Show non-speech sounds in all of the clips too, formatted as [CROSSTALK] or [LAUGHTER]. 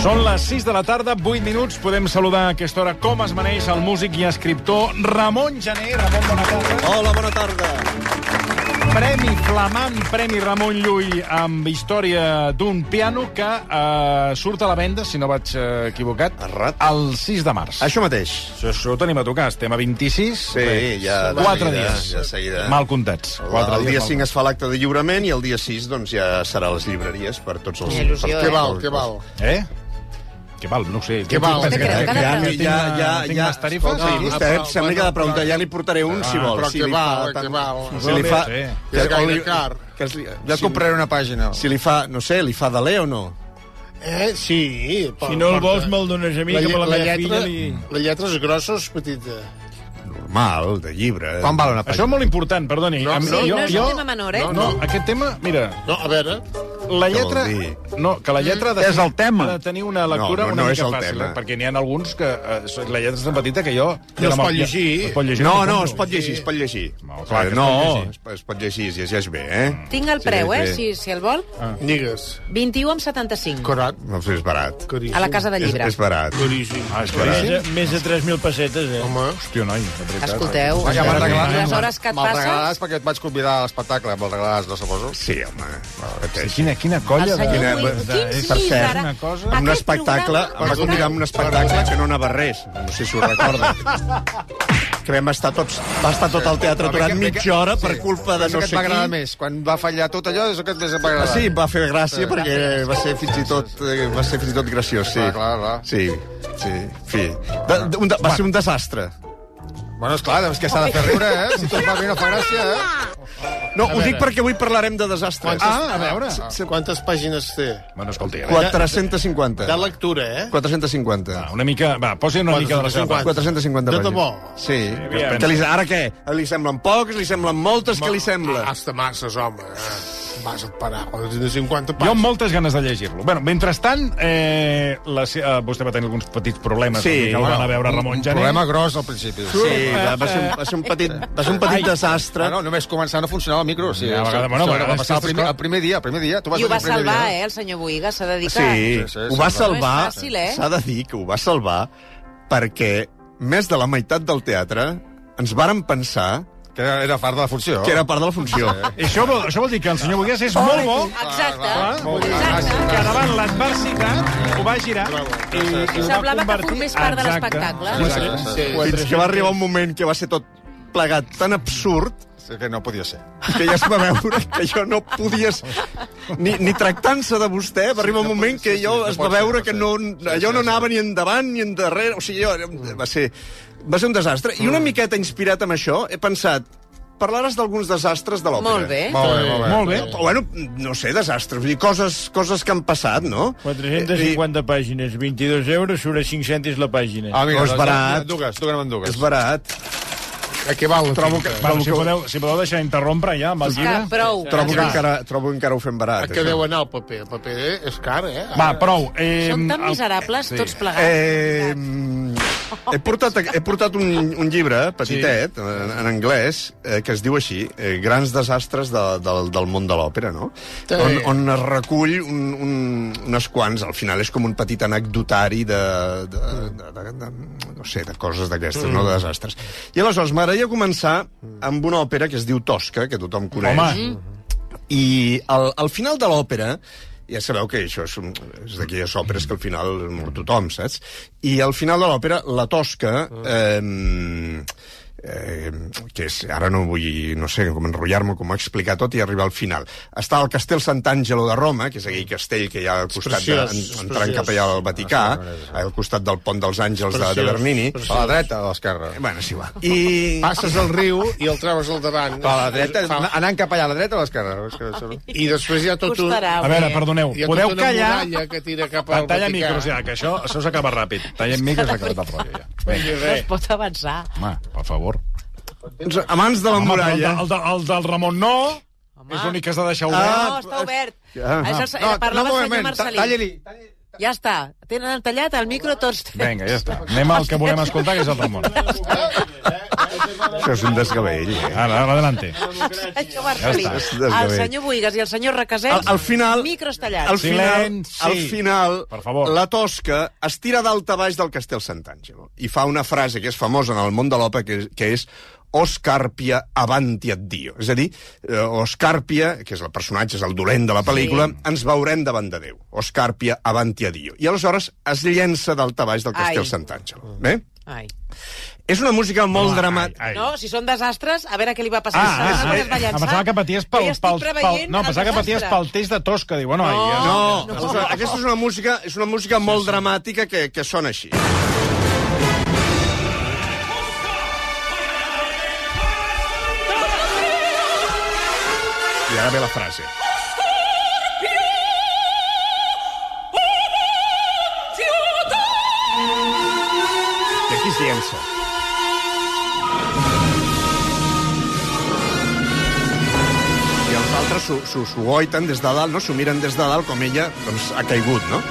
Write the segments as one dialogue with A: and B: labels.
A: Són les 6 de la tarda, 8 minuts. Podem saludar a aquesta hora com es maneix el músic i escriptor Ramon Gené. Ramon, bona tarda.
B: Hola, bona tarda.
A: Premi Flamant, Premi Ramon Llull amb història d'un piano que eh, surt a la venda, si no vaig eh, equivocat,
B: Errat.
A: el 6 de març.
B: Això mateix.
A: Això, això ho tenim a tocar. Estem a 26.
B: Sí, ja de
A: 4
B: seguida,
A: dies.
B: de seguida.
A: Mal comptats. Quatre
B: el dia
A: mal
B: 5 es fa l'acte de lliurament i el dia 6 doncs, ja serà a les llibreries per tots els... Il·lusió,
C: Què val, què val?
A: Eh? Què val? No ho sé.
C: Què val?
A: Pensa
C: Cada-
A: que-
B: Ja,
A: que
B: ja,
A: tinc
B: ja,
A: una-
B: ja,
A: tinc
B: ja,
A: unes tarifes?
B: escolta,
A: Sí.
B: vostè
C: bueno,
B: sembla que ha de preguntar, ja li portaré un, si vol.
C: però
B: si
C: que
B: li
C: val,
B: fa
C: que
B: tant-
C: val.
B: Si li fa...
A: Sí.
C: Que és
B: o
C: gaire
B: li-
C: car.
B: que es li-
C: Ja
B: si-
C: compraré una pàgina.
B: Si li fa, no sé, li fa d'alè o no?
C: Eh? Sí.
D: Si no el vols, me'l dones a mi,
C: la,
D: que me
C: lle-
D: la,
C: la,
D: meva
C: lletra,
D: filla li...
C: la lletra és grossa o és petita?
B: Normal, de llibre.
C: Quan val una
A: Això
C: pàgina?
A: és molt important, perdoni.
C: No,
A: Em-
C: sí, no és un
E: tema menor, eh?
A: No, no, aquest tema, mira,
C: No, a veure,
A: la lletra...
B: vol dir?
A: No, que la
C: Mm.
A: lletra... ha De,
D: És el tema.
A: Ha de tenir una lectura
B: No, no,
A: una
B: no és
A: mica
B: el
A: fàcil,
B: tema.
A: eh? perquè n'hi ha alguns que... Eh, so- la lletra és tan petita que jo...
C: No es pot llegir.
A: Ja, es pot llegir.
B: No,
A: em
B: no,
A: confundo.
B: es pot llegir, es pot llegir. Eh,
A: No, clar que es
B: no,
A: pot llegir.
B: es pot- es pot llegir, es llegeix bé, eh?
E: Tinc el preu, eh, si, si el vol.
C: Ah. nigues.
E: 21 amb 75.
C: Corat.
B: No sé, és barat.
C: Caríssim.
E: A la Casa de
B: És,
E: Llibre.
B: és barat.
C: Caríssim.
A: Ah, és
B: Clar.
A: clar.
D: Més, a- més de 3.000 pessetes, eh?
C: Home,
A: Hòstia, noi, de veritat.
E: Escolteu, eh,
C: Vaja, m'ha regalat,
E: les
C: home.
E: hores que et
C: me'l
E: passes...
C: regalaràs perquè et vaig convidar a l'espectacle. Me'l regalaràs, no suposo?
B: Sí, home.
A: Sí,
B: pateix.
A: Eh, Quina, quina colla
E: El
A: de...
E: senyor
B: Quina-
E: Puig, quins
B: per cert,
E: miserable-
A: una cosa-
B: Un
E: Aquest
B: espectacle, em va
E: programa-
B: convidar a un espectacle que no anava res. No sé si ho
C: [LAUGHS]
B: recorda. que vam estar tots, va estar tot el teatre aturat mitja hora per culpa de no
C: que et
B: sé
C: va agradar
B: qui.
C: més. Quan va fallar tot allò, és el que et més em va
B: Ah,
C: agradar.
B: sí, em va fer gràcia perquè va ser fins i tot, eh, va ser fins i tot graciós, sí.
C: Clar, clar, clar.
B: Sí, sí, fi. De, de, un de, va ser un desastre.
C: Bueno, esclar, és que s'ha de fer riure, eh? Si tot va bé, no fa gràcia, eh?
B: No, ho dic perquè avui parlarem de desastres.
C: Ah, a veure. Quantes pàgines té?
A: Bueno, escolti, a veure.
B: 450.
C: De lectura, eh?
B: 450.
A: Va, Una mica... Va, posi una mica de la seva part.
B: 450
C: De
B: pàgines.
C: debò?
B: Sí. Que li, ara què? Li semblen pocs, li semblen moltes, què li sembla?
C: Has de Ah, masses, home. eh? Vas a parar. Quan tens de 50
A: Jo amb
C: pàgines.
A: moltes ganes de llegir-lo. Bueno, mentrestant, eh, la, se- eh, vostè va tenir alguns petits problemes
B: Sí,
A: que el van a veure Ramon
C: Un
A: Jané.
C: problema gros al principi.
B: Sí, va, va, ser un, va ser un petit, va ser un petit desastre.
C: Ah, no, només començar no funcionava el micro. Sí,
A: Ja, a vegades, bueno, a
C: això
A: vegades
C: va passar el
A: aquestes
C: primer,
A: coses-
C: el primer dia, el primer dia. Tu vas
E: I ho
C: venir
E: va
C: el primer
E: salvar,
C: dia.
E: eh, el senyor Boiga, s'ha dedicat.
B: Sí,
C: Sí, sí,
B: ho
C: sí,
B: va
C: sí.
B: salvar.
E: No és fàcil, eh?
B: S'ha de dir que ho va salvar perquè més de la meitat del teatre ens varen pensar
C: Que era, era part de la funció.
B: que era part de la funció.
A: I Això vol, això vol dir que el senyor Bogués és molt bo, eh,
E: Exacte,
C: Ah, molt bé.
E: exacte.
A: que davant l'adversitat ho va girar i, i ho va
E: Semblava que
A: convertir...
E: formés part de
A: Exacte.
E: l'espectacle.
C: Exacte, sí.
B: Fins que va arribar un moment que va ser tot plegat tan absurd
C: Sí, que no podia ser.
B: que ja es va veure que jo no podies... Ni, ni tractant-se de vostè, va arribar un
C: no
B: moment
C: pot-
B: que
C: sí,
B: jo
C: sí, no
B: es va
C: pot ser,
B: veure
C: no
B: que
C: pot
B: no,
C: ser. Sí,
B: allò
C: sí,
B: no
C: sí.
B: anava ni endavant ni endarrere, o sigui, jo, va ser, va ser un desastre. I
C: Mm.
B: una miqueta inspirat amb això, he pensat, parlaràs d'alguns desastres de l'òpera.
E: Molt bé.
C: Molt bé, molt bé.
A: Molt bé.
B: Però, Bueno, no sé, desastres, vull dir, coses, coses que han passat, no?
D: 450 pàgines, 22 euros, surt a 5 cèntims la pàgina.
C: Ah, mira,
B: No és barat.
C: Dugues, dugues, no me'n
B: Eh, I
C: dugues.
B: és barat.
C: A què val? Trobo que...
A: Bueno, si, podeu, si podeu deixar d'interrompre ja amb el
E: Que
A: llibre...
E: prou.
B: Trobo que,
C: va.
B: encara, trobo que encara ho fem
C: A
B: barat,
C: què deu anar el paper? El paper és car, eh?
A: Va, prou. Eh,
E: Són tan
A: el-
E: miserables, tots plegats.
B: Eh, mm, he portat, he portat un, un llibre eh, petitet, sí. en, en anglès, eh, que es diu així, eh, Grans desastres de, del, del món de l'òpera, no?
C: Sí.
B: On, on es recull un, un, unes quants, al final és com un petit anecdotari de, de, de, de, de no sé, de coses d'aquestes, mm. no de desastres. I aleshores m'agradaria començar amb una òpera que es diu Tosca, que tothom coneix.
A: Home,
B: I al, al final de l'òpera, ja sabeu que això és, un- és d'aquelles òperes que al final
C: Ah.
B: mor tothom, saps? I al final de l'òpera, la Tosca... Eh, eh, que és, ara no vull, no sé, com enrotllar-me, com explicar tot i arribar al final. Està el castell Sant'Angelo de Roma, que és aquell castell que hi ha al costat,
C: preciós,
B: de,
C: és
B: en- entrant
C: preciós.
B: cap allà al Vaticà,
C: Ah, sí, sí.
B: al costat del pont dels Àngels de, de Bernini.
C: A la dreta o a l'esquerra?
B: Bueno, és igual.
C: I... Passes el riu i el trobes al davant.
F: Però a la dreta,
C: Fa-
F: anant cap allà, a la dreta o a l'esquerra? És que això no-
C: I després hi ha tot un...
E: Costarà,
A: A veure, perdoneu,
C: Hi ha
A: podeu
C: tota una
A: callar...
C: muralla que tira cap
A: Va,
C: al
A: talla
C: Vaticà.
A: micros ja, que això, això s'acaba ràpid. Tallem micros i s'ha acabat el rotllo, ja. Vinga, eh.
E: No es pot avançar.
A: home, per favor.
B: Doncs, a mans de la
A: Home, però el,
B: muralla...
A: de- el, de- el del Ramon no,
E: Home.
A: és l'únic que has de deixar
E: No,
A: obert.
E: està obert.
B: Ah,
E: Això és, no, Eh, parlava el senyor Marcelí.
B: Talla-li.
E: Ja està. Tenen tallat el micro tots.
A: Vinga, ja està. Anem al que volem escoltar, que és el Ramon.
B: Això és un desgavell, eh?
A: Ara, ara, adelante.
E: Senyor Marcelí,
A: Ja
B: està.
E: el senyor Buigas i el senyor Requesens,
B: Al, al final...
E: micros tallats.
B: Al final,
A: Silenci.
B: al final
A: Per favor.
B: la Tosca es tira d'alta baix del castell Sant'Angelo i fa una frase que és famosa en el món de l'òpera, que, que és Oscarpia avanti et Dio. És a dir, eh, Oscarpia, que és el personatge, és el dolent de la pel·lícula, sí. ens veurem davant de Déu. Oscarpia avanti a Dio. I aleshores es llença d'alta baix del
E: Ai.
B: castell Sant'Angelo. Bé?
E: Ai.
B: És una música molt dramàtica.
A: Ai.
E: No, si són desastres, a veure què li va passar.
A: Ah,
E: Saps el que
A: ah, eh,
E: es va
A: em
E: llançar?
A: pensava que paties pel,
E: Jo ja
A: pel,
E: estic
A: pel,
E: preveient
A: no, em
E: el
A: pensava que paties
E: desastre.
A: pel teix de Tosca. Diu, bueno, eh, ai, ja.
B: No,
E: No.
B: aleshores, aquesta és una música, és una música molt dramàtica que, que sona així. I ara ve la frase. I aquí es llença. I els altres s'ho- s'ho- s'ho goiten des de dalt, no? S'ho miren des de dalt com ella doncs, ha caigut, no?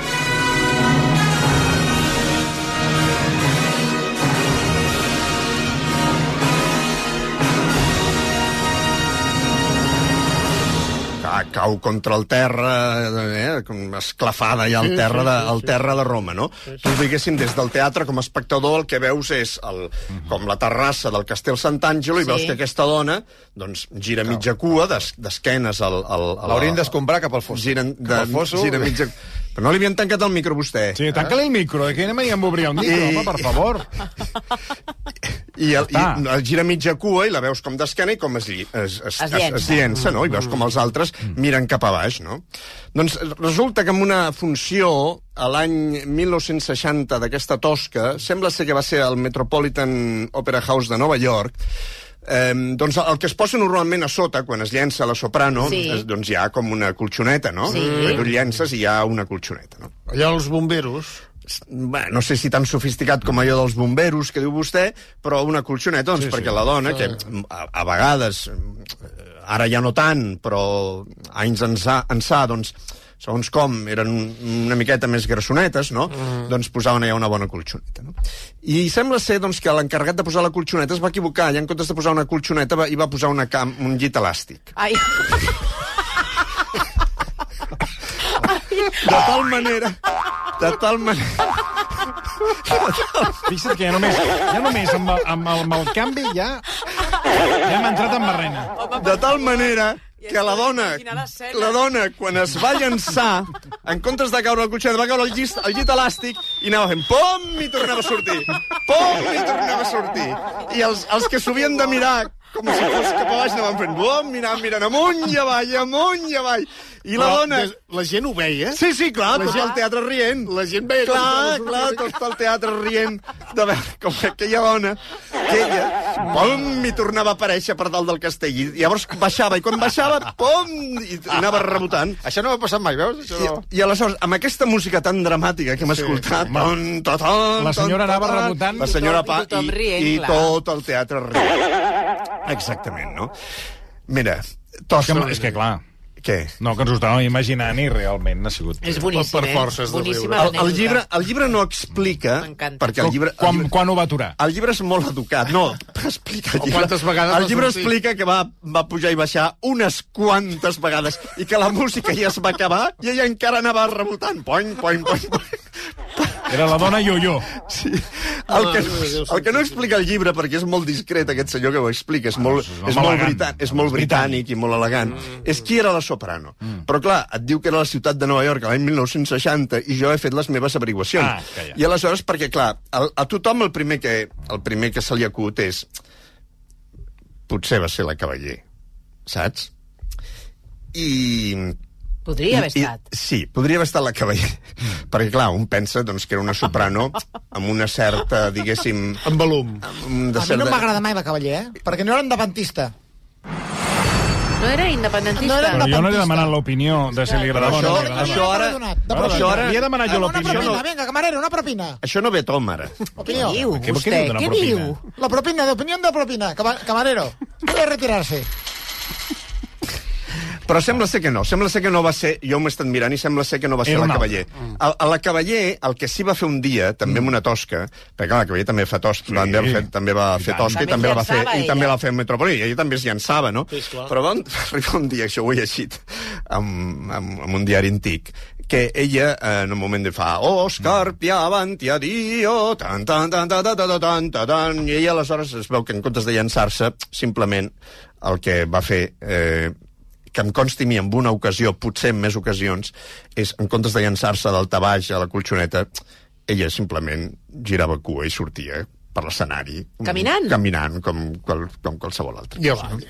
B: Ca- cau contra el terra, eh, com esclafada ja al terra, de, al terra de Roma, no? Tu, diguéssim, des del teatre, com a espectador, el que veus és el, com la terrassa del Castell Sant'Àngelo sí. i veus que aquesta dona doncs, gira mitja cua, des, d'esquenes al... al, al
F: L'haurien d'escombrar cap al fons.
B: Giren, de,
F: Cap al fosso.
B: gira mitja... Però no li havien tancat el micro, a vostè.
A: Sí, tanca-li el micro, eh, que anem a obrir un micro,
B: I-
A: home, per favor.
B: I, el,
A: Ja
B: i
A: està.
B: el gira mitja cua i la veus com d'esquena i com es, lli- es, es,
E: Es
B: es,
E: llença. Mm.
B: es llença, no? I veus com els altres
A: Mm.
B: miren cap a baix, no? Doncs resulta que en una funció a l'any 1960 d'aquesta tosca, sembla ser que va ser al Metropolitan Opera House de Nova York, Eh, doncs el que es posa normalment a sota, quan es llença la soprano,
E: Sí.
B: es, doncs hi ha com una colxoneta, no?
E: Sí.
B: Que tu llences i hi ha una colxoneta, no?
C: Allà els bomberos...
B: Bé, no sé si tan sofisticat com allò dels bomberos que diu vostè, però una colxoneta, doncs, sí, perquè la dona, que mm, a, a vegades, eh, ara ja no tant, però anys ençà, ençà doncs, segons com, eren una miqueta més grassonetes, no? Mm. Doncs posaven allà una bona colxoneta, no? I sembla ser, doncs, que l'encarregat de posar la colxoneta es va equivocar, i en comptes de posar una colxoneta va, hi va posar una cam, un llit elàstic.
E: Ai,
B: De tal manera... De tal manera...
A: Fixa't que ja només, ja només amb, el, amb, el, amb el canvi ja, ja hem entrat en barrena.
B: De tal manera que la dona,
E: Quina l'escena.
B: la dona, quan es va llançar, en comptes de caure al cotxet, va caure al llit, al llit elàstic i anava fent pom i tornava a sortir. Pom i tornava a sortir. I els, els que s'havien de mirar com si fos cap a baix anaven fent pom, mirant, mirant amunt i avall, amunt i avall. I la
C: Però
B: dona...
C: des- La gent ho veia?
B: Sí, sí, clar,
C: La
B: tot
C: gent-
B: el teatre rient.
C: La gent veia com
B: Clar,
C: totes les
B: clar, tot el teatre rient de veure com aquella dona, aquella, pom, i tornava a aparèixer per dalt del castell. I llavors baixava, i quan baixava, pom, i anava rebotant.
C: Això no m'ha passat mai, veus? Això...
B: I, I aleshores, amb aquesta música tan dramàtica que hem escoltat... Ton, ta, ton,
A: La senyora
B: ton, ta,
A: anava
B: ton,
A: rebotant.
B: La senyora
E: I
B: pa,
E: tothom
B: i,
E: rient,
B: i
E: clar.
B: tot el teatre rient. Exactament, no? Mira,
A: És
B: tosta...
A: que, és que clar,
B: Què?
A: no, que ens ho estàvem imaginant i realment ha sigut...
E: és boníssim,
C: Per- per
E: eh?
C: forces de
E: Boníssima
B: El, el,
E: anècdota.
B: llibre, el llibre no explica...
E: M'encanta.
B: Perquè el llibre... el
A: Quan,
B: llibre-
A: quan ho va aturar?
B: El llibre és molt educat. No, [LAUGHS] explica el
C: O
B: llibre.
C: quantes vegades
B: el
C: va
B: llibre
C: sortir?
B: explica que va, va pujar i baixar unes quantes vegades i que la música ja es va acabar i ella encara anava rebotant. Poing, poing, poing, poing.
A: Era la dona Yo-Yo.
B: Sí. El, que, el que no explica el llibre, perquè és molt discret aquest senyor que ho explica, és molt,
A: Ah, és Mm, un
B: és
A: home
B: molt,
A: elegant.
B: britan, és molt britànic i molt elegant, és qui era la soprano.
A: Mm.
B: Però clar, et diu que era la ciutat de Nova York l'any 1960 i jo he fet les meves averiguacions.
A: Ah, que ja.
B: I aleshores, perquè clar, el, a tothom el primer que, el primer que se li acut és potser va ser la Cavaller, saps? I
E: Podria haver
B: i-
E: estat.
B: I, sí, podria haver estat la cavaller. [LAUGHS] Perquè, clar, un pensa doncs, que era una soprano amb una certa, eh, diguéssim...
C: Amb volum.
B: amb un
G: A mi
B: cert
G: no m'agrada mai la cavaller, eh? Perquè no era independentista.
E: No era independentista.
G: No era
A: Però jo no li he
G: Independentista.
A: demanat l'opinió de si li agradava o no
B: Això-
A: li agradava.
B: això ara-
G: Perdonat, de
B: però això ara- Ah,
A: Li he demanat jo
G: Una
A: l'opinió.
G: propina,
A: No.
G: Ah, vinga, camarero, una propina.
B: Això no ve tom, ara.
E: Què
G: Opinió.
E: diu,
A: què- què
E: vostè?
A: diu d'una
E: Què
A: propina?
E: diu?
G: La propina, de opinión de propina. Cama- Camarero, puede retirarse.
B: Però sembla ser que no. Sembla ser que no va ser... Jo m'he estat mirant i sembla ser que no va ser
A: Era
B: la
A: una
B: Cavaller. A, a la Cavaller, el que sí va fer un dia, també amb una tosca, perquè clar, la Cavaller també fa tosca, també, va fer, també va fer tosca i
E: També
B: també la va fer,
E: llançava,
B: i també
E: ella.
B: la va fer Metropoli, i ella també es llançava, no? Però va un- va [LAUGHS] arribar un dia, això ho he llegit, amb, amb, amb un diari antic, que ella eh, en un moment de fa Oscar Piavanti a Dio tan tan tan tan tan tan tan tan tan i ella aleshores es veu que en comptes de llançar-se simplement el que va fer eh, que em consti a mi en una ocasió, potser en més ocasions, és en comptes de llançar-se d'alta baix a la colxoneta, ella simplement girava cua i sortia per l'escenari.
E: Caminant?
B: Caminant, com, qual, com qualsevol altre.
C: I avall.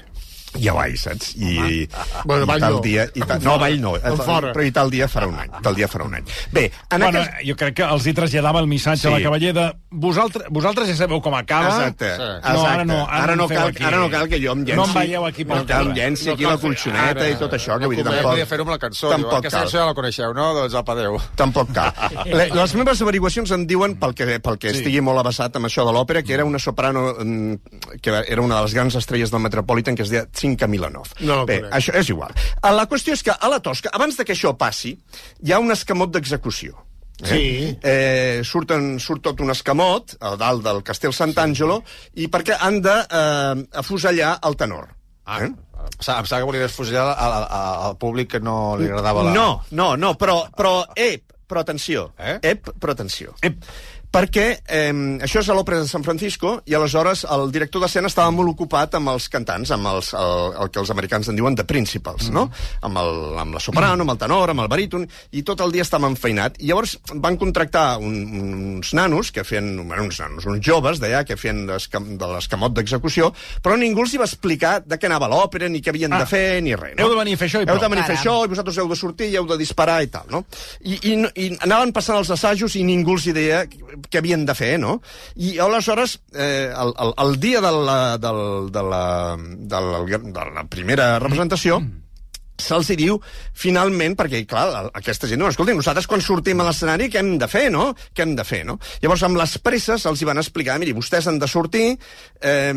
B: I avall, saps? I, i,
C: Bueno,
B: i
C: avall
B: tal
C: no.
B: dia... I tal, no, avall no. eh,
C: fora.
B: Però i tal dia farà un any. Tal dia farà un any. Bé, en
A: Bueno, ah,
B: aquest...
A: jo crec que els hi traslladava el missatge sí. a
B: Sí.
A: la cavaller de vosaltres, vosaltres ja sabeu com acaba.
B: Exacte, exacte.
A: No, ara no, ara,
B: ara no
A: em feu
B: cal,
A: aquí.
B: ara no cal que jo em llenci.
A: No em veieu aquí pel
B: no cal, em
A: carrer.
B: llenci aquí la colxoneta i tot això, que vull dir,
C: Convé,
B: tampoc...
C: Podia fer-ho amb la cançó. Tampoc
B: Tampoc
C: diu, aquesta
B: cal.
C: cançó ja la coneixeu, no? Doncs apa, adéu.
B: Tampoc cal. Le- Les meves averiguacions em diuen, pel que, pel que sí. estigui molt avessat amb això de l'òpera, que era una soprano mm, que era una de les grans estrelles del Metropolitan que es deia Cinca Milanov.
C: No la
B: Bé,
C: conec.
B: això és igual. Eh, La qüestió és que a la Tosca, abans de que això passi, hi ha un escamot d'execució. Eh?
C: Sí.
B: Eh, surten, surt tot un escamot a dalt del Castell Sant'Angelo sí. i perquè han de eh, afusellar el tenor. Ah, eh?
C: Sa- Em sap que volies fusillar al, al, al públic que no li agradava la...
B: No, no, no, però, però, ep, però atenció. Eh?
C: Eh?
B: Ep, però atenció. Ep. Perquè eh, això és a l'òpera de San Francisco i aleshores el director d'escena estava molt ocupat amb els cantants, amb els, el, el que els americans en diuen the principals, mm. no? Amb, el, amb la soprano, amb el tenor, amb el baríton, i tot el dia estava enfeinat. I llavors van contractar un, uns nanos que feien, bueno, uns nanos, uns joves d'allà que feien d'escam- de l'escamot d'execució, però ningú els hi va explicar de què anava l'òpera, ni què havien ah. de fer, ni res. No?
A: Heu de venir a fer això i
B: Heu
A: prou.
B: de venir a fer
E: Caram.
B: això, i vosaltres heu de sortir i heu de disparar i tal, no? I, i, no- i anaven passant els assajos i ningú els hi deia què havien de fer, no? I aleshores, eh, el, el, el dia de la, del, de, la, de, la, de la primera representació,
A: Mm.
B: se'ls hi diu, finalment, perquè, clar, a- aquesta gent, no, escolta, nosaltres quan sortim a l'escenari, què hem de fer, no? Què hem de fer, no? Llavors, amb les presses els hi van explicar, miri, vostès han de sortir eh,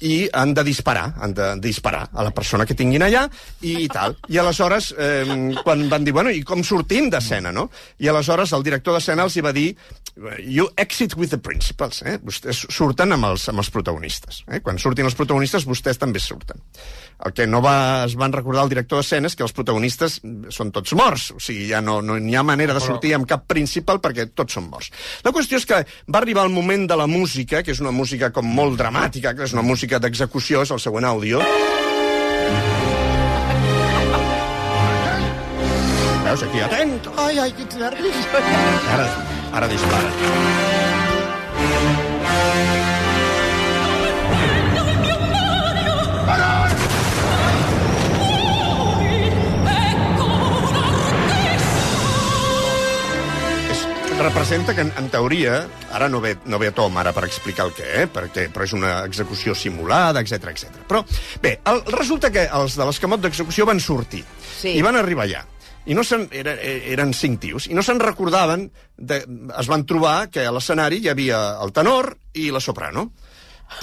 B: i han de disparar, han de disparar a la persona que tinguin allà i, i tal. I aleshores, eh, quan van dir, bueno, i com sortim d'escena, no? I aleshores el director d'escena els hi va dir, Eh, you exit with the principals, eh? Vostès surten amb els, amb els protagonistes. Eh? Quan surtin els protagonistes, vostès també surten. El que no va, es van recordar el director d'escena és que els protagonistes mm, són tots morts, o sigui, ja no no, n'hi ha manera de sortir amb cap principal perquè tots són morts. La qüestió és que va arribar el moment de la música, que és una música com molt dramàtica, que és una música d'execució, és el següent àudio. Veus, aquí, atent,
G: Ai, ai, quins nervis.
B: Ara, ara dispara. És- representa que en, en teoria, ara no ve, no ve a tom ara per explicar el què, eh? perquè, però és una execució simulada, etc etc. Però bé, el, resulta que els de l'escamot d'execució van sortir
E: Sí.
B: i van arribar allà. I no se'n, era, e- eren cinc tios, i no se'n recordaven, de, es van trobar que a l'escenari hi havia el tenor i la soprano,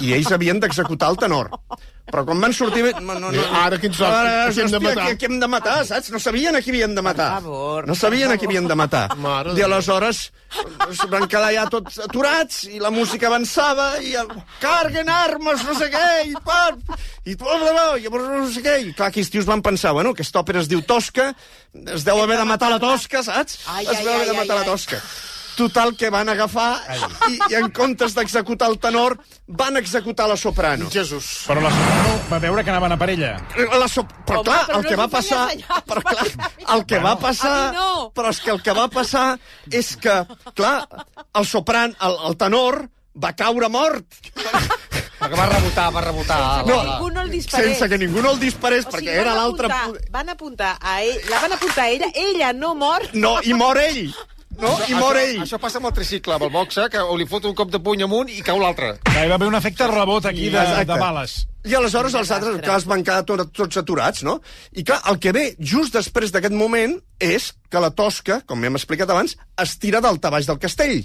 B: i ells havien d'executar el tenor. Però quan van sortir... No, no, no,
C: Ara quins són?
B: Ara,
C: Qui hem
B: hòstia,
C: de matar?
B: que- que hem de matar, saps? No sabien a qui havien de matar.
E: Per favor,
B: no sabien a qui havien de matar.
C: [LAUGHS] Mare de
B: I
C: Déu.
B: aleshores es van quedar ja tots aturats i la música avançava i el, carguen armes, no sé què, i pap, i bla, bla, bla, i llavors no sé què. I clar, aquells tios van pensar, bueno, aquesta òpera es diu Tosca, es deu haver de matar la Tosca, saps?
E: Ai,
B: es
E: ai,
B: deu haver
E: ai,
B: de matar
E: ai,
B: la
E: ai.
B: Tosca. Total, que van agafar i, i en comptes d'executar el tenor, van executar la soprano.
C: Jesús.
A: Però la soprano va veure que anaven a parella.
B: La so... Però
E: Home,
B: clar,
E: però
B: el que
E: no
B: va
E: us ho
B: passar...
E: feia assenyalar, [LAUGHS]
B: Però clar, el que va passar...
E: a mi no.
B: Però és que el que va passar és que, clar, el sopran, el, el tenor, va caure mort.
F: que va rebotar, va rebotar.
E: Sense que ningú no el disparés.
B: Sense que ningú no el disparés,
E: O sigui,
B: perquè
E: van
B: era l'altre...
E: apuntar-
B: pu-
E: Van apuntar a ell, la van apuntar a ella, ella no mor.
B: No, i mor ell! No, i mor ell!
F: Això passa amb el tricicle, amb el boxe,
C: eh,
F: que o li fot un cop de puny amunt i cau l'altre.
A: Va, hi va haver un efecte rebot aquí de,
B: Exacte.
A: de bales.
B: I aleshores els altres, clar, es van quedar tot, tots aturats, no? I clar, el que ve just després d'aquest moment és que la tosca, com hem explicat abans, es tira d'alta baix del castell.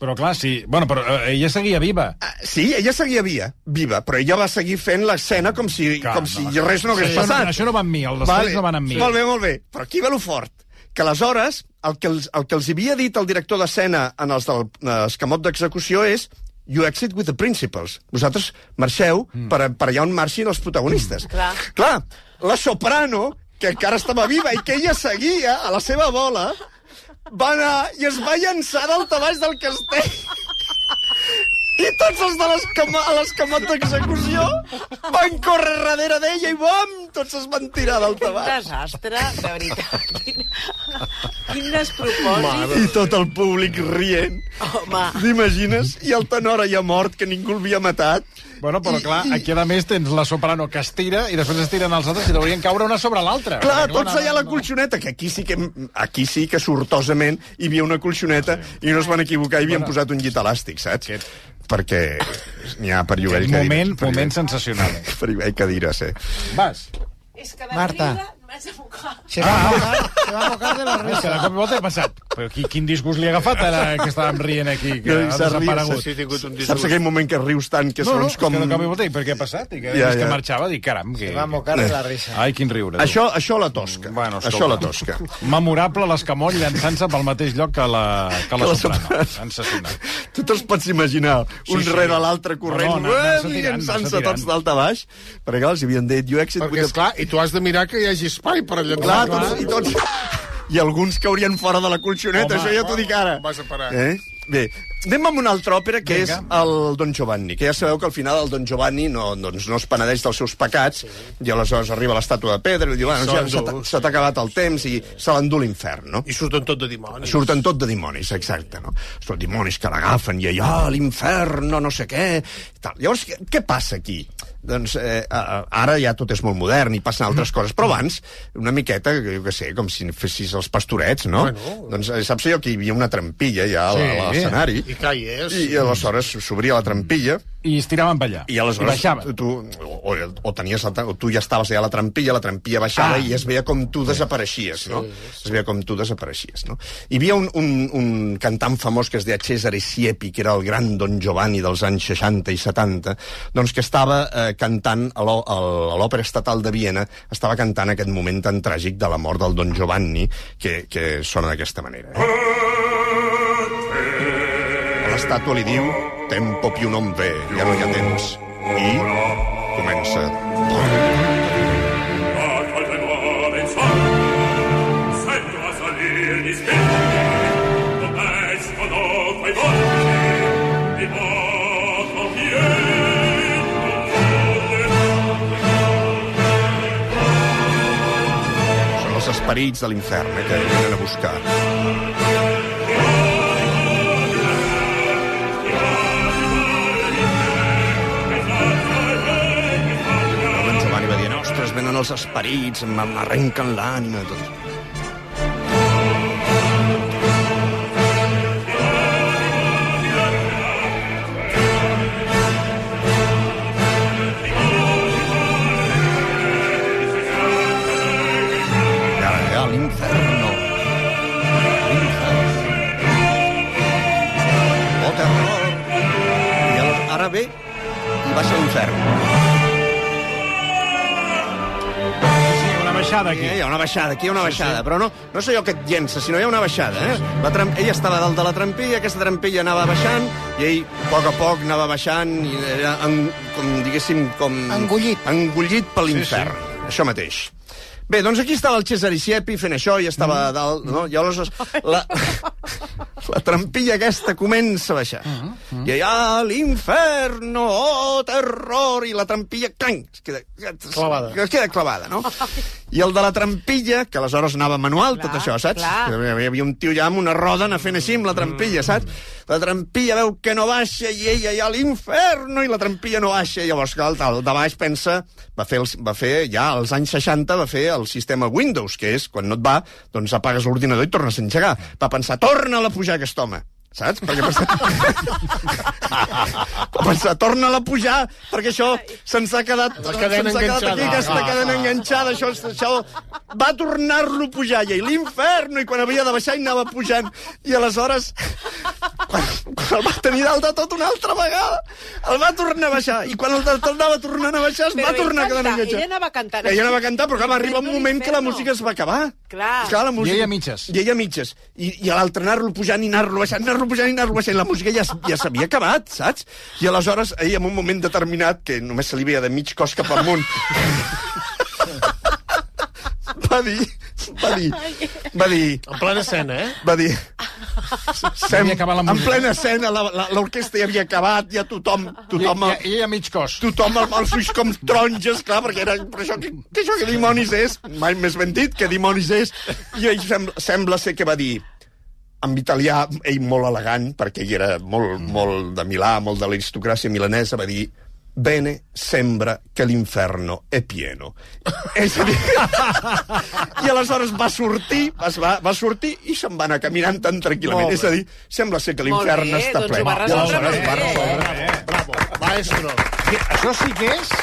A: Però clar, sí. Bueno, però eh, ella seguia viva.
B: Ah, Sí, ella seguia viva, viva, però ella va seguir fent l'escena com si,
A: Clar,
B: com si
A: no.
B: res no hagués
A: Això no,
B: passat.
A: això no va amb mi, els destells no van amb mi.
B: Molt bé, molt bé. Però aquí ve lo fort. Que aleshores, el que els, el que els havia dit el director d'escena en els del eh, escamot d'execució és you exit with the principals. Vosaltres marxeu mm. per, per allà on marxin els protagonistes.
E: clar.
B: Clar, la soprano, que encara estava viva i que ella seguia a la seva bola, va anar i es va llançar d'alta baix del castell. I tots els de l'escama- a l'escamat d'execució van córrer darrere d'ella i bom! Tots es van tirar d'alta
E: Un
B: baix.
E: desastre, de veritat. Quin, quin despropòsit.
B: I tot el públic rient.
E: Home,
B: T'imagines? I el tenor ja mort, que ningú l'havia matat.
A: Bueno, però clar, aquí a més tens la soprano que es tira i després es tiren els altres i deurien caure una sobre l'altra.
B: Clar,
A: Perquè,
B: tots allà a la
A: no-
B: colxoneta, que aquí sí que, aquí sí que sortosament hi havia una colxoneta i no es van equivocar i havien posat un llit elàstic, saps? Perquè n'hi ha per llogar i cadires.
A: Moment,
B: per
A: moment
B: llogar-
A: sensacional.
B: [LAUGHS] Per llogar i cadires, eh?
A: Vas.
E: és que de
G: Marta.
E: riure m'has de mocar.
G: Se
B: Ah,
G: va, a mojar, se va a mojar de la
A: Ah, [LAUGHS] és que
G: risa.
A: de cop i volta he passat. Però qui, quin disgust li ha agafat ara que estàvem rient aquí, que
B: No, i
A: ha
B: s'ha riat,
A: desaparegut?
B: s'ha-
F: he tingut un
B: Saps aquell moment que rius tant que
A: No, no,
B: segons
A: és
B: com...
A: que de cop i volta, i per què ha passat? I que,
B: Ja,
A: ja, ja.
B: ja.
A: que marxava, dic, caram, que...
C: Va mocar de la
B: Eh.
C: risa.
A: Ai, quin riure. tu.
B: Això, això la tosca.
A: Bueno, escolta.
B: això la tosca.
A: Memorable l'escamot llançant-se pel mateix lloc que la, que la
B: Que la
A: soprano.
B: soprano.
A: Sensacional.
B: Tu te'ls pots imaginar, un
A: sí.
B: rere l'altre corrent,
A: No, no, anar-se
B: uem,
A: tirant, anar-se
B: llançant-se
A: tirant.
B: tots d'alta a baix, perquè clar, els havien dit, you exit...
C: Perquè,
B: with the-"
C: esclar, i tu has de mirar que hi hagi espai per allò.
B: clar, tots, i tots... I alguns caurien fora de la colxoneta,
A: Home,
B: això ja t'ho dic ara.
C: on vas a parar?
B: Eh? Bé, anem amb una altra òpera, que
A: Vinga.
B: és el Don Giovanni, que ja sabeu que al final el Don Giovanni no, doncs, no es penedeix dels seus pecats, sí. i aleshores arriba l'estàtua de pedra i li diu, bueno, ja se t'ha- se t'ha acabat el temps i se l'endú l'infern, no?
C: I surten tot de dimonis.
B: Surten tot de dimonis, exacte, no? Són dimonis que l'agafen i allà, a l'infern, no, no sé què... i Tal. Llavors, què, què passa aquí? Doncs eh, a- a- ara ja tot és molt modern i passen altres coses, però abans, una miqueta, jo què sé, com si fessis els pastorets, no? Bueno. Doncs eh, saps allò que hi havia una trampilla ja a la- a l'escenari?
C: I clar, hi és.
B: I, I aleshores s'obria la trampilla
A: I es tiraven per allà.
B: i aleshores
A: baixaven.
B: tu, o, o, tenies la, tra- o tu ja estaves allà a la trampilla, la trampilla baixava
A: Ah.
B: ah. i es veia com tu desapareixies, no? Es veia com tu desapareixies, no? Hi havia un, un, un cantant famós que es deia Cesare Siepi, que era el gran Don Giovanni dels anys 60 i 70, doncs que estava eh, cantant a l'O- al- a l'Òpera Estatal de Viena, estava cantant aquest moment tan tràgic de la mort del Don Giovanni, que, que sona d'aquesta manera. Eh? A L'estàtua li diu Tempo più non ve, ja no hi ha temps. I comença... Són els esperits de l'infern eh, que venen a buscar. El Don Giovanni va dir, ostres, venen els esperits, m'ar- m'arrenquen l'ànima, tot. I ara, eh, a l'inferno. L'inferno. Oh, terror. I el, ara ve i baixa a l'infern.
A: Sí, una baixada
B: Aquí.
A: aquí.
B: Eh, Hi ha una baixada, aquí hi ha una baixada, però no, no sé jo que et llença, sinó hi ha una baixada. Eh? La tram... Ell estava dalt de la trampilla, aquesta trampilla anava baixant, i ell a poc a poc anava baixant, i era en, com, diguéssim, com...
G: Engullit.
B: Engullit per l'infern. Sí, sí. Això mateix. Bé, doncs aquí estava el Cesare Siepi fent això i estava mm. [LAUGHS] dalt, no? I aleshores la, la trampilla aquesta comença a baixar. Mm I allà, l'inferno, oh, terror, i la trampilla, clang, es queda,
G: Clavada.
B: Es queda clavada, no? I el de la trampilla, que aleshores anava manual, tot
E: Clar,
B: això, saps?
E: clar.
B: Hi havia un tio ja amb una roda anar fent així amb la trampilla, saps? La trampilla veu que no baixa i ella ja a l'inferno i la trampilla no baixa. I llavors, clar, el, el de baix pensa... Va fer, els, va fer ja als anys 60 va fer el sistema Windows, que és quan no et va, doncs apagues l'ordinador i tornes a engegar. Va pensar, torna-la a pujar aquest home. Saps? Perquè pensa... va pensar, torna-la a pujar, perquè això se'ns ha quedat, se'ns ha
C: cadena
B: quedat aquí,
C: enganxada.
B: aquesta
C: Ah, ah,
B: cadena
C: ah.
B: enganxada, això, això va tornar-lo a pujar, i l'inferno, i quan havia de baixar, i anava pujant, i aleshores, quan, quan el va tenir dalt de tot una altra vegada, el va tornar a baixar, i quan el del- tornava tornant a baixar, es
E: Però
B: va
E: ell
B: tornar a
E: canta,
B: cadena enganxada.
E: ella anava cantant.
B: Ella anava cantant, però clar, va arribar un
E: L'inferno,
B: moment que la
E: l'inferno.
B: música es va acabar.
E: Clar.
B: Clar, la música...
A: I ella a mitges.
B: I ella a mitges. I, i a l'altre anar-lo pujant i anar-lo baixant, anar-lo pujant i anar-lo baixant. La música ja, s- ja s'havia acabat, saps? I aleshores, ell en un moment determinat, que només se li veia de mig cos cap amunt, [LAUGHS] va dir... Va dir... Va dir...
C: En plena escena, eh?
B: Va dir... Sem,
A: havia acabat la
B: en
A: música.
B: plena escena, la- la- l'orquestra ja havia acabat, ja tothom...
A: I,
B: tothom
A: i, i a mig cos.
B: tothom amb els ulls com taronges, clar, perquè era... Però això, que, que això que dimonis és? Mai més ben dit, que dimonis és? I ell sembla, sembla ser que va dir en italià, ell molt elegant, perquè ell era molt,
E: Mm.
B: molt de Milà, molt de l'aristocràcia milanesa, va dir Bene, sembra que l'inferno è pieno. [LAUGHS] És a dir... I aleshores va sortir, es va, va sortir i se'n va anar caminant tan tranquil·lament. És a dir, sembla ser que
E: Molt
B: l'infern
E: bé,
B: està
E: doncs
B: ple.
E: ho va resoldre
B: I aleshores
E: molt
B: va
E: bé.
B: resoldre.
C: Bravo, maestro.
A: eh? Això sí que és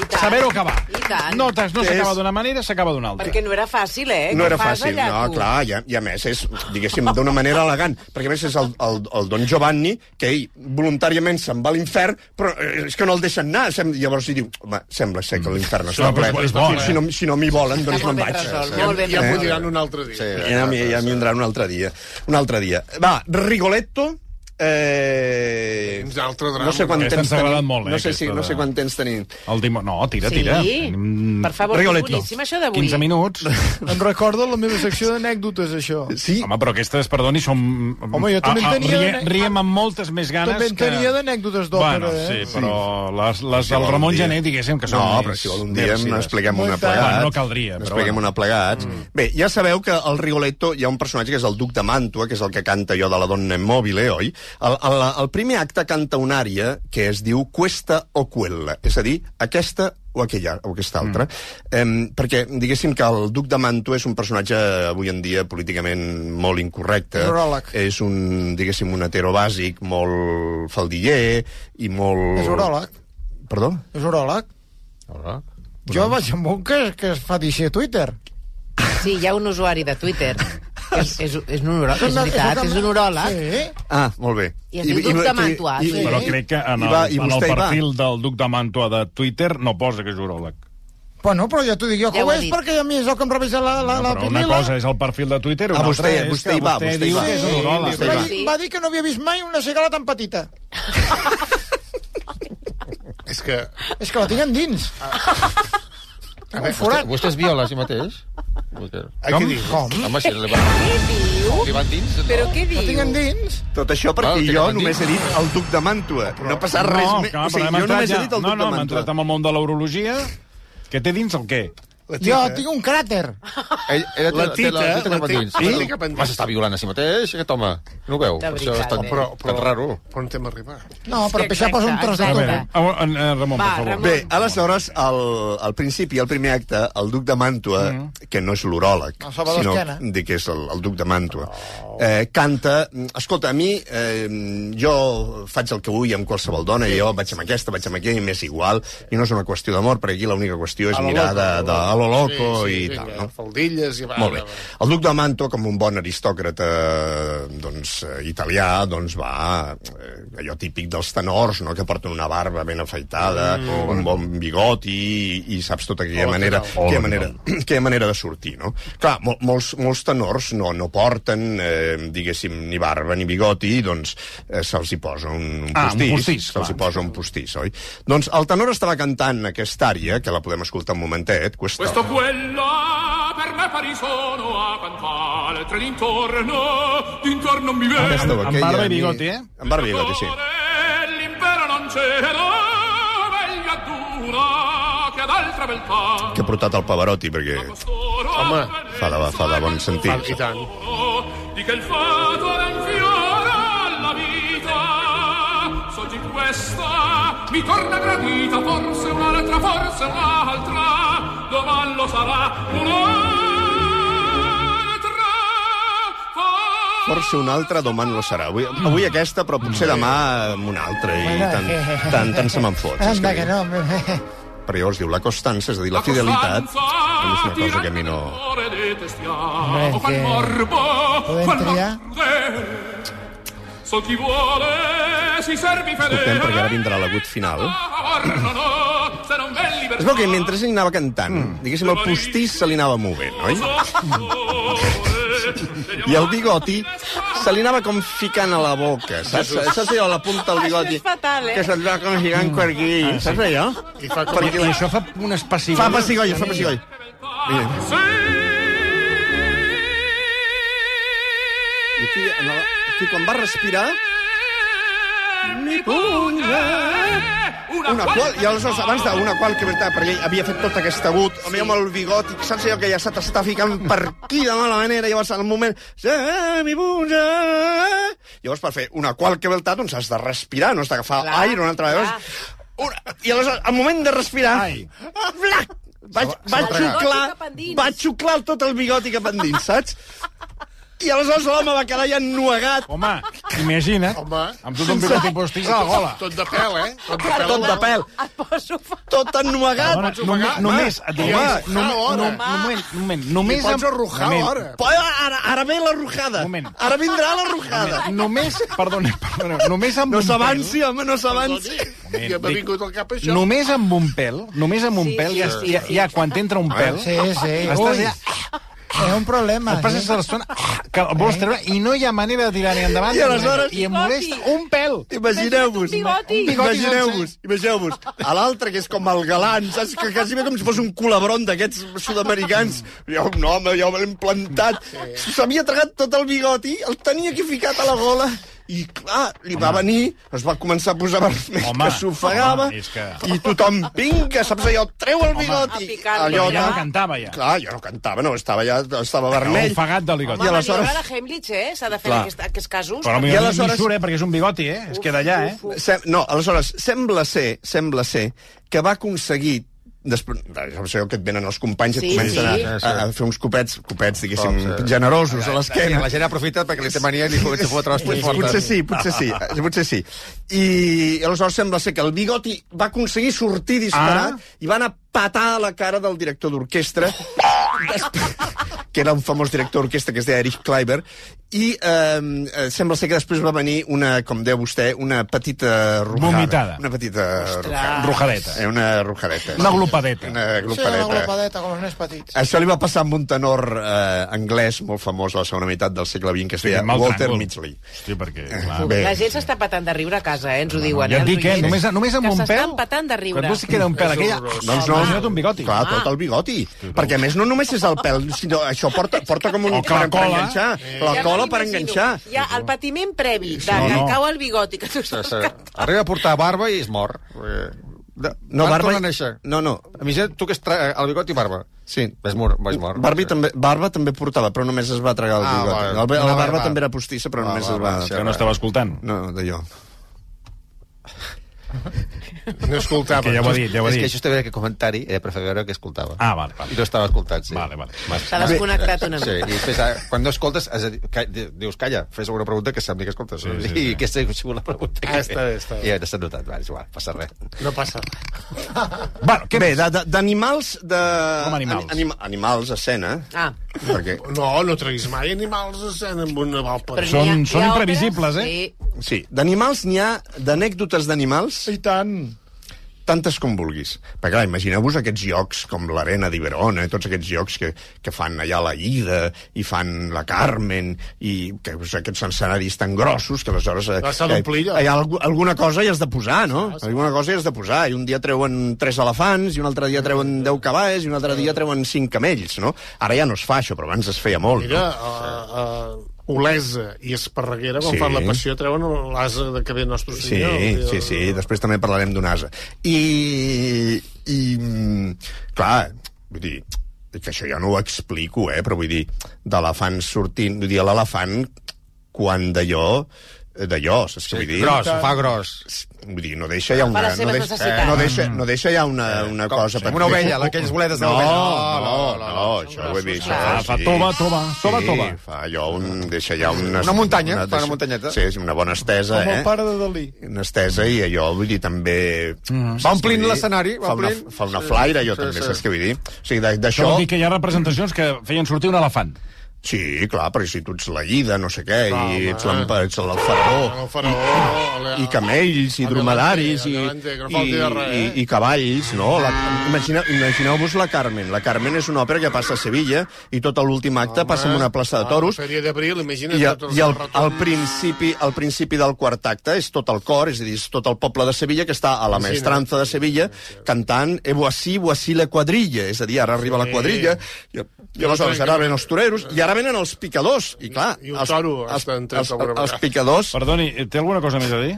E: I tant.
A: saber-ho acabar.
E: I tant.
A: No, t'has- no
B: És-
A: s'acaba d'una manera, s'acaba d'una altra.
E: Perquè no era fàcil, eh?
B: No
E: Què
B: era
E: fas
B: fàcil,
E: allà,
B: no,
E: tu?
B: clar, i a, i a més és, diguéssim, d'una manera elegant, perquè a més és el, el, el Don Giovanni, que ell voluntàriament se'n va a l'infern, però eh, és que no el deixen anar, sem llavors hi diu, home, sembla ser que l'infern està
A: No, però
B: ple,
A: és bo, és bo,
B: si,
A: eh?
B: no, si no m'hi volen, doncs
E: molt
B: me'n
E: ben
B: vaig.
E: resolt,
B: Sí,
E: molt ben
B: sí.
C: Ja
E: Eh?
C: m'ho diran un altre dia. Eh, Sí,
B: Ja, mi- ja m'hi vindrà un altre dia. Un altre dia. Va, Rigoletto, eh...
C: Un altre drama.
B: No sé quant
A: Aquesta
B: temps
A: ens ha agradat
B: tenim.
A: molt, eh,
B: no, sé si,
A: aquesta
B: no
A: de-
B: sé quant temps tenim.
A: El dimo... No, tira,
E: Sí?
A: tira.
E: Per favor,
A: Rigoletto.
E: que boníssim, això d'avui.
A: 15 minuts.
G: Em recordo la meva secció d'anècdotes,
B: [LAUGHS]
G: això.
B: Sí,
A: Home, però aquestes, perdoni, som... Ah,
G: Home, jo també en tenia
A: rie-
G: d'anè-
A: Riem amb moltes més ganes
G: També en
A: que...
G: tenia d'anècdotes
A: bueno,
G: d'òpera, eh?
A: sí, però les, les
B: Si vol
A: del
B: un
A: Ramon
B: dia.
A: Gené, diguéssim, que són...
B: No,
A: més
B: però si vol un dia
A: divertides.
B: n'expliquem
G: Molt
B: una
G: tard.
B: plegats.
A: Bueno, no caldria, però
B: N'expliquem
A: bueno.
B: una plegats. Bé, ja sabeu que el Rigoletto hi ha un personatge que és el duc de Màntua, que és el que canta jo de la donna immòbile, oi? El, el, el primer acte canta una ària que es diu Questa o Quella, és a dir, aquesta o aquella, o aquesta altra. Mm. Em, perquè, diguéssim que el duc de Màntua és un personatge avui en dia políticament molt incorrecte.
G: Uròleg.
B: És un, diguéssim, un heterobàsic molt faldiller i molt...
G: És uròleg.
B: Perdó?
G: És uròleg. Jo vaig amb un que, que es fa deixar a Twitter.
E: Sí, hi ha un usuari de Twitter. és, és, és, un uròleg, Ah, és veritat, és un uròleg.
G: Sí.
B: Ah, molt bé.
E: I es diu Duc de Mantua, sí.
A: Però crec que en
B: I
A: el,
B: va, i
A: en el
B: vostè hi va.
A: perfil del duc de Mantua de Twitter no posa que és uròleg.
G: Bueno, però ja t'ho dic jo,
E: Ja
G: que
E: ho
G: ho
E: ha
G: és,
E: dit.
G: perquè a mi és el que em revisa la, la, la
A: Però una
G: pipila.
A: cosa és el perfil de Twitter, una
B: Ah, vostè-
A: altra és
B: vostè
A: que
B: hi va,
A: vostè
B: vostè hi
A: diu
B: va.
A: que és
B: Sí,
A: un uròleg.
B: vostè
G: va,
B: va.
G: dir, va dir que no havia vist mai una cigala tan petita.
C: És que...
G: És que la tinc endins.
F: A
G: [LAUGHS] Un forat.
F: Vostè, vostè es viola a si mateix?
C: Ai, què dius?
G: Com?
F: Home, si li van,
E: Què diu?
F: li van dins...
E: Però què diu?
G: La tinc endins.
B: Tot això perquè
F: Val, que
B: jo
F: no en
B: només
F: dic.
B: he dit el duc de Màntua. No ha passat res més.
A: clar,
B: o
A: però
B: sigui,
A: hem
B: jo
A: entrat
B: només
A: ja-
B: he dit el
A: no,
B: duc
A: no,
B: de
A: hem
B: Màntua.
A: entrat amb el món de l'urologia. Què té dins el què?
G: Jo tinc un cràter.
F: Ell, ella té, la
C: La
F: tita, té la,
C: tita,
F: tita cap
C: la
F: endins.
C: tita, la
F: Sí?
C: tita cap endins.
F: Vas estar violant a si mateix, aquest home. No ho veu?
E: De
F: Per això és
E: veritat,
F: tan,
E: eh?
F: però, però, tan raro.
C: Però on hem arribat?
G: No, però
E: Sí,
G: per això
E: exacte,
G: poso un tros de
A: A
E: exacte.
G: torre.
A: veure, a, a, a Ramon,
E: Va,
A: per favor.
E: Ramon.
B: Bé, aleshores, al, al principi, al primer acte, el duc de Màntua, mm. que no és l'uròleg,
G: El Salvador
B: sinó
G: Esquena.
B: de que és el, el duc de Màntua, eh, canta... Escolta, a mi, eh, jo faig el que vull amb qualsevol dona, i jo vaig amb aquesta, vaig amb aquella, i m'és igual, i no és una qüestió d'amor, perquè aquí l'única qüestió és
C: A lo
B: mirar
C: loco,
B: de,
C: a lo
B: de, a lo loco
C: Sí, sí,
B: i
C: vinga,
B: tal, no?
C: Faldilles i... va,
B: Molt bé.
C: Ah, va, va.
B: El duc de Manto, com un bon aristòcrata doncs, eh, italià, doncs va eh, allò típic dels tenors, no? que porten una barba ben afaitada, mm. un bon bigoti i, i saps tota aquella
C: Hola,
B: manera,
C: què tal?
B: aquella manera, [CLEARS THROAT] aquella manera de sortir. No? Clar, mol, molts, molts tenors no, no porten, eh, diguéssim, ni barba ni bigoti, doncs eh, se'ls hi posa un, un
A: Ah, un
B: postís.
A: postís,
B: se'ls hi
A: clar.
B: posa un postís, oi? Doncs el tenor estava cantant aquesta ària, que la podem escoltar un momentet, Questo
H: Questo quello per pari sono a cantare Tre d'intorno, d'intorno mi viene
B: Aquesta
A: Amb
B: aquella,
A: barba i
B: ni-
A: bigoti, eh?
B: Amb barba i bigoti, sí.
H: L'impero non c'era Meglio ad una che ad altra beltà
B: Que ha portat el Pavarotti, perquè
H: Home,
B: fa de, fa de bon sentit.
F: I tant.
H: di che il fato infiora la vita so di questa mi torna gradita forse un'altra forse un'altra domani lo sarà un'altra forse
B: Força una altra, domant lo serà. Avui, avui aquesta, però potser demà amb una altra. I tant, tant, tant se me'n fot. saps
G: Anda,
B: què
G: que
B: dic?
G: no.
B: Però llavors diu la constança, és a dir, la fidelitat, que és una cosa que a mi no...
H: Hombre,
G: Hombre, que- Podem triar?
H: So chi vuole si servi fedele.
B: Escoltem, perquè ara vindrà l'agut final.
H: No, no, se non v'è
B: Es veu que mentre ell anava cantant, diguéssim, el postís se li anava movent, oi?
H: libertà.
B: [LAUGHS] I el bigoti se li anava com ficant a la boca, saps? Saps allò, la punta del bigoti?
I: és fatal, eh?
B: Que se't va com ficant per aquí, saps allò?
A: I fa, com... I,
B: Perquè-
A: I això fa unes pessigolles.
B: Fa pessigolles, fa pessigolles. I aquí, en el, aquí quan va respirar... Mi punja... Una qual, i aleshores, abans d'una qual que veritat, perquè ell havia fet tot aquest agut, sí. amb el bigot, i saps allò que ja se t'està ficant per aquí de mala manera, i llavors al moment... "Se Mi punja... Llavors, per fer una qual que veritat, doncs has de respirar, no has d'agafar aire una altra vegada. Una, I aleshores, al moment de respirar...
A: Ai.
B: Ah, Blac! Vaig, vaig,
I: tragar. Bigoti cap
B: xuclar,
I: endins.
B: vaig xuclar tot el bigoti cap endins, saps? I aleshores l'home va quedar ja ennuegat,
A: Home, imagina't, Home.
C: Home.
A: amb tot un bigoti postís a la gola.
C: Tot de pèl, eh? Tot de pèl.
B: tot de pèl,
I: Et poso... fa-
B: tot ennuegat.
A: Dona, només, només, et diré,
C: Home,
A: només,
C: home,
A: no, no,
C: home.
A: no, moment, moment, només...
C: Pots
A: amb-
C: arrojar
A: moment,
C: l'hora.
B: Però ara, ara ve la rujada.
A: Moment.
B: Ara vindrà la rujada.
A: Només, perdona, perdona, només amb
B: No
A: un
B: s'avanci, home, no s'avanci.
C: Ja m'ha vingut al cap
A: pèl,
C: això.
A: només amb un pèl, només amb
I: Sí,
A: un pèl,
I: sí,
A: ja,
I: sí,
A: ja,
I: sí.
A: ja quan t'entra un pèl,
G: [LAUGHS] Sí, sí.
A: estàs
G: Ui,
A: allà,
G: és un problema.
A: et passes
G: eh?
A: la estona que el vols treure i no hi ha manera de tirar-hi endavant
B: I aleshores-
A: i em molesta un pèl.
B: Imagineu-vos.
I: bigoti.
B: Imagineu-vos, imagineu-vos. A l'altre, que és com el galant, saps? Que quasi bé com si fos un culebron d'aquests sud-americans. Ja un home, ja l'hem plantat. S'havia tragat tot el bigoti, el tenia aquí ficat a la gola. I, clar, li va venir, es va començar a posar vermell,
A: Home,
B: que s'ofegava,
A: home, és que-
B: i tothom, vinga, saps allò, treu el
I: a
B: bigoti.
I: picar-lo,
B: allò,
A: ja no cantava, ja.
B: Clar, ja no cantava, no, estava ja, estava
A: Vermell.
B: vermell.
A: Ofegat del
I: Home,
A: bigoti.
B: I
I: I
B: aleshores-
I: aleshores... la Heimlich, eh? S'ha de fer en
B: Clar.
I: aquest, aquests casos.
A: Però potser
B: I
A: aleshores...
B: aleshores-
A: ni surt, eh, perquè és un bigoti, eh? Es queda allà, eh?
B: Sem no, aleshores, sembla ser, sembla ser que va aconseguir després, això que et venen els companys i
I: Sí,
B: et comencen
I: sí.
B: a, a, a fer uns copets, copets, diguéssim,
C: Com, sí.
B: generosos a l'esquena.
C: eh. La gent aprofita perquè li té mania i li fot- li fot les
B: Potser,
C: fortes.
B: potser sí, potser sí, eh, potser sí. I aleshores sembla ser que el bigoti va aconseguir sortir
A: Ah.
B: disparat ah. i va anar a patar a la cara del director d'orquestra, després- que era un famós director d'orquestra que es deia Erich Kleiber, i eh, eh, sembla ser que després va venir una, com deu vostè, una petita rujada.
A: Vomitada.
B: Una petita rujada.
A: Rujadeta.
B: Eh, una rujareta.
A: Una glopadeta.
B: Una
G: Sí, una
B: glopadeta.
G: glopadeta, com els nens petits.
B: Això li va passar amb un tenor eh, anglès molt famós a la segona meitat del segle XX, que es deia
A: amb el
B: Walter
A: tràngol.
B: Midgley.
A: Hosti, perquè...
C: Eh,
A: Clar,
B: Bé.
I: La gent s'està patant de riure a casa, eh? Ens ho diuen,
A: Ja et
I: els
A: dic, eh?
I: oients,
A: Només, només amb
I: que
A: un pèl...
I: s'estan patant de riure.
A: Quan tu queda un pèl aquella...
B: Doncs no.
A: Imagina't un bigoti.
B: Clar, tot el bigoti. Perquè a més no només és el pèl, sinó això porta, porta com un...
A: O que la
B: per- per
A: cola.
B: enganxar. La
I: Ja
B: cola
I: m'ho
B: per
I: imagino.
B: enganxar.
I: Ja, el patiment previ, de
A: No,
I: que
A: no.
I: et cau el bigoti, que tu
C: Sí,
I: saps
C: sí.
I: que...
C: Arriba a portar barba i es mor. Eh, de-
B: No,
C: Abans
B: barba...
C: torna a néixer.
B: No, no.
C: A mi ja, tu que es tra... el bigot i barba.
B: Sí.
C: Ves mor, ves mor.
B: Barbi també, barba també portava, però només es va tragar el
C: Ah,
B: bigoti.
C: vale.
B: El, la
C: Una
B: barba,
C: barba.
B: també era postissa, però
C: Va, Ah,
B: només
C: va,
B: es va...
C: va, sí,
B: tragar.
A: Que no estava escoltant.
B: No, d'allò.
C: No escoltava.
A: Que ja ho ha dit, ja ho ha
C: És
A: dit.
C: que això estava aquest comentari, era per fer veure que escoltava.
A: Ah, vale, vale.
C: I no estava escoltant, sí.
A: Vale, vale.
I: S'ha desconnectat una
C: Sí,
I: mica.
C: i després, ah, quan no escoltes, has de dir- ca- di- dius, calla, fes alguna pregunta que sembli que escoltes. Sí, sí, I sí. aquesta ha sigut la pregunta.
G: Ah, està bé, està bé.
C: I ja t'has notat, va, és igual, passa res.
G: No passa res.
A: Bueno, què
B: Bé,
A: més?
B: de- de- d'animals... De,
A: Com animals.
B: Anim, animals, escena.
I: Ah,
B: Perquè...
C: No, no
G: Treguis mai animals de cent amb una valpa.
I: però n'hi
A: Són-
I: ha- n'hi ha
A: són
I: obres-
A: imprevisibles, eh?
I: Sí.
B: Sí, d'animals n'hi ha, d'anècdotes d'animals,
G: I tant.
B: tantes com vulguis. Perquè, clar, imagineu-vos aquests llocs com l'Arena d'Iberona, tots aquests llocs que, que fan allà la Ida, i fan la Carmen, i que, pues, aquests escenaris tan grossos que aleshores... eh,
J: La sala Ah,
B: eh,
J: omplida.
B: hi ha algu- alguna cosa hi has de posar, no? Alguna cosa hi has de posar. I un dia treuen tres elefants, i un altre dia treuen deu cavalls, i un altre dia treuen cinc camells, no? Ara ja no es fa això, però abans es feia molt.
J: Mira, a, a eh, Olesa i Esparreguera, quan
B: Ah, Sí.
J: sí. fan la passió, treuen l'asa de que ve Nostre
B: Sí,
J: Senyor.
B: sí, sí, després també parlarem d'un asa. I, i mm, clar, vull dir, que això ja no ho explico, eh, però vull dir, d'elefants sortint, vull dir, l'elefant, quan d'allò, eh, d'allò, saps què vull dir?
C: gros, ho fa
B: gros. Vull dir, no deixa ja
C: Per
B: una...
C: les
B: No
C: seves
B: deixa,
C: necessitats.
B: no deixa, no deixa ja una, una
C: Eh, Com-
B: cosa...
C: com una ovella, aquelles boletes de
B: no,
C: l'ovella.
B: No,
C: No,
B: no,
C: no,
B: no, això ho he vist.
C: clar.
B: això
C: Fa tova, tova, tova,
B: sí,
C: tova.
B: Fa allò, un, deixa ja una...
C: Una muntanya, fa una
B: deixa-
C: muntanyeta.
B: Sí, és una bona estesa,
C: Com
B: eh?
C: el
G: pare de Dalí.
B: una estesa i allò, vull dir, també... Mm.
C: Mhm. Va omplint l'escenari, va
B: Fa, una,
C: omplint.
B: fa una
C: Sí,
B: flaire, jo
C: sí,
B: també,
C: sí.
B: saps què vull dir? O sigui, d'a-
A: Això
B: d'això...
A: vol dir que hi ha representacions que feien sortir un elefant.
B: Sí, clar, perquè si tu ets la llida, no sé què,
A: Va,
B: i
A: home.
B: ets l'empa- ets el faraó,
J: El faraó,
B: i camells, i dromedaris, i,
J: Adelante, que no
B: i,
J: falti de res,
B: i,
J: eh?
B: i cavalls, no? La, imagina, imagineu-vos la Carmen. La Carmen és una òpera que passa a Sevilla i tot l'últim acte passa en una plaça de toros
J: Ah, Feria d'abril, imagina't.
B: I, a,
J: tot
B: i el,
J: retorn.
B: al, principi, al principi del quart acte és tot el cor, és a dir, és tot el poble de Sevilla que està a la
J: Sí,
B: maestranza de Sevilla cantant «E voací, voací la quadrilla», és a dir, ara arriba la
J: Sí.
B: quadrilla, i, i aleshores ara venen els toreros, i ara venen els picadors, i clar...
J: I un toro està entrat
B: els,
J: alguna
B: els, els
J: vegada.
B: picadors...
A: Perdoni, eh, té alguna cosa més a
J: [LAUGHS]
A: dir?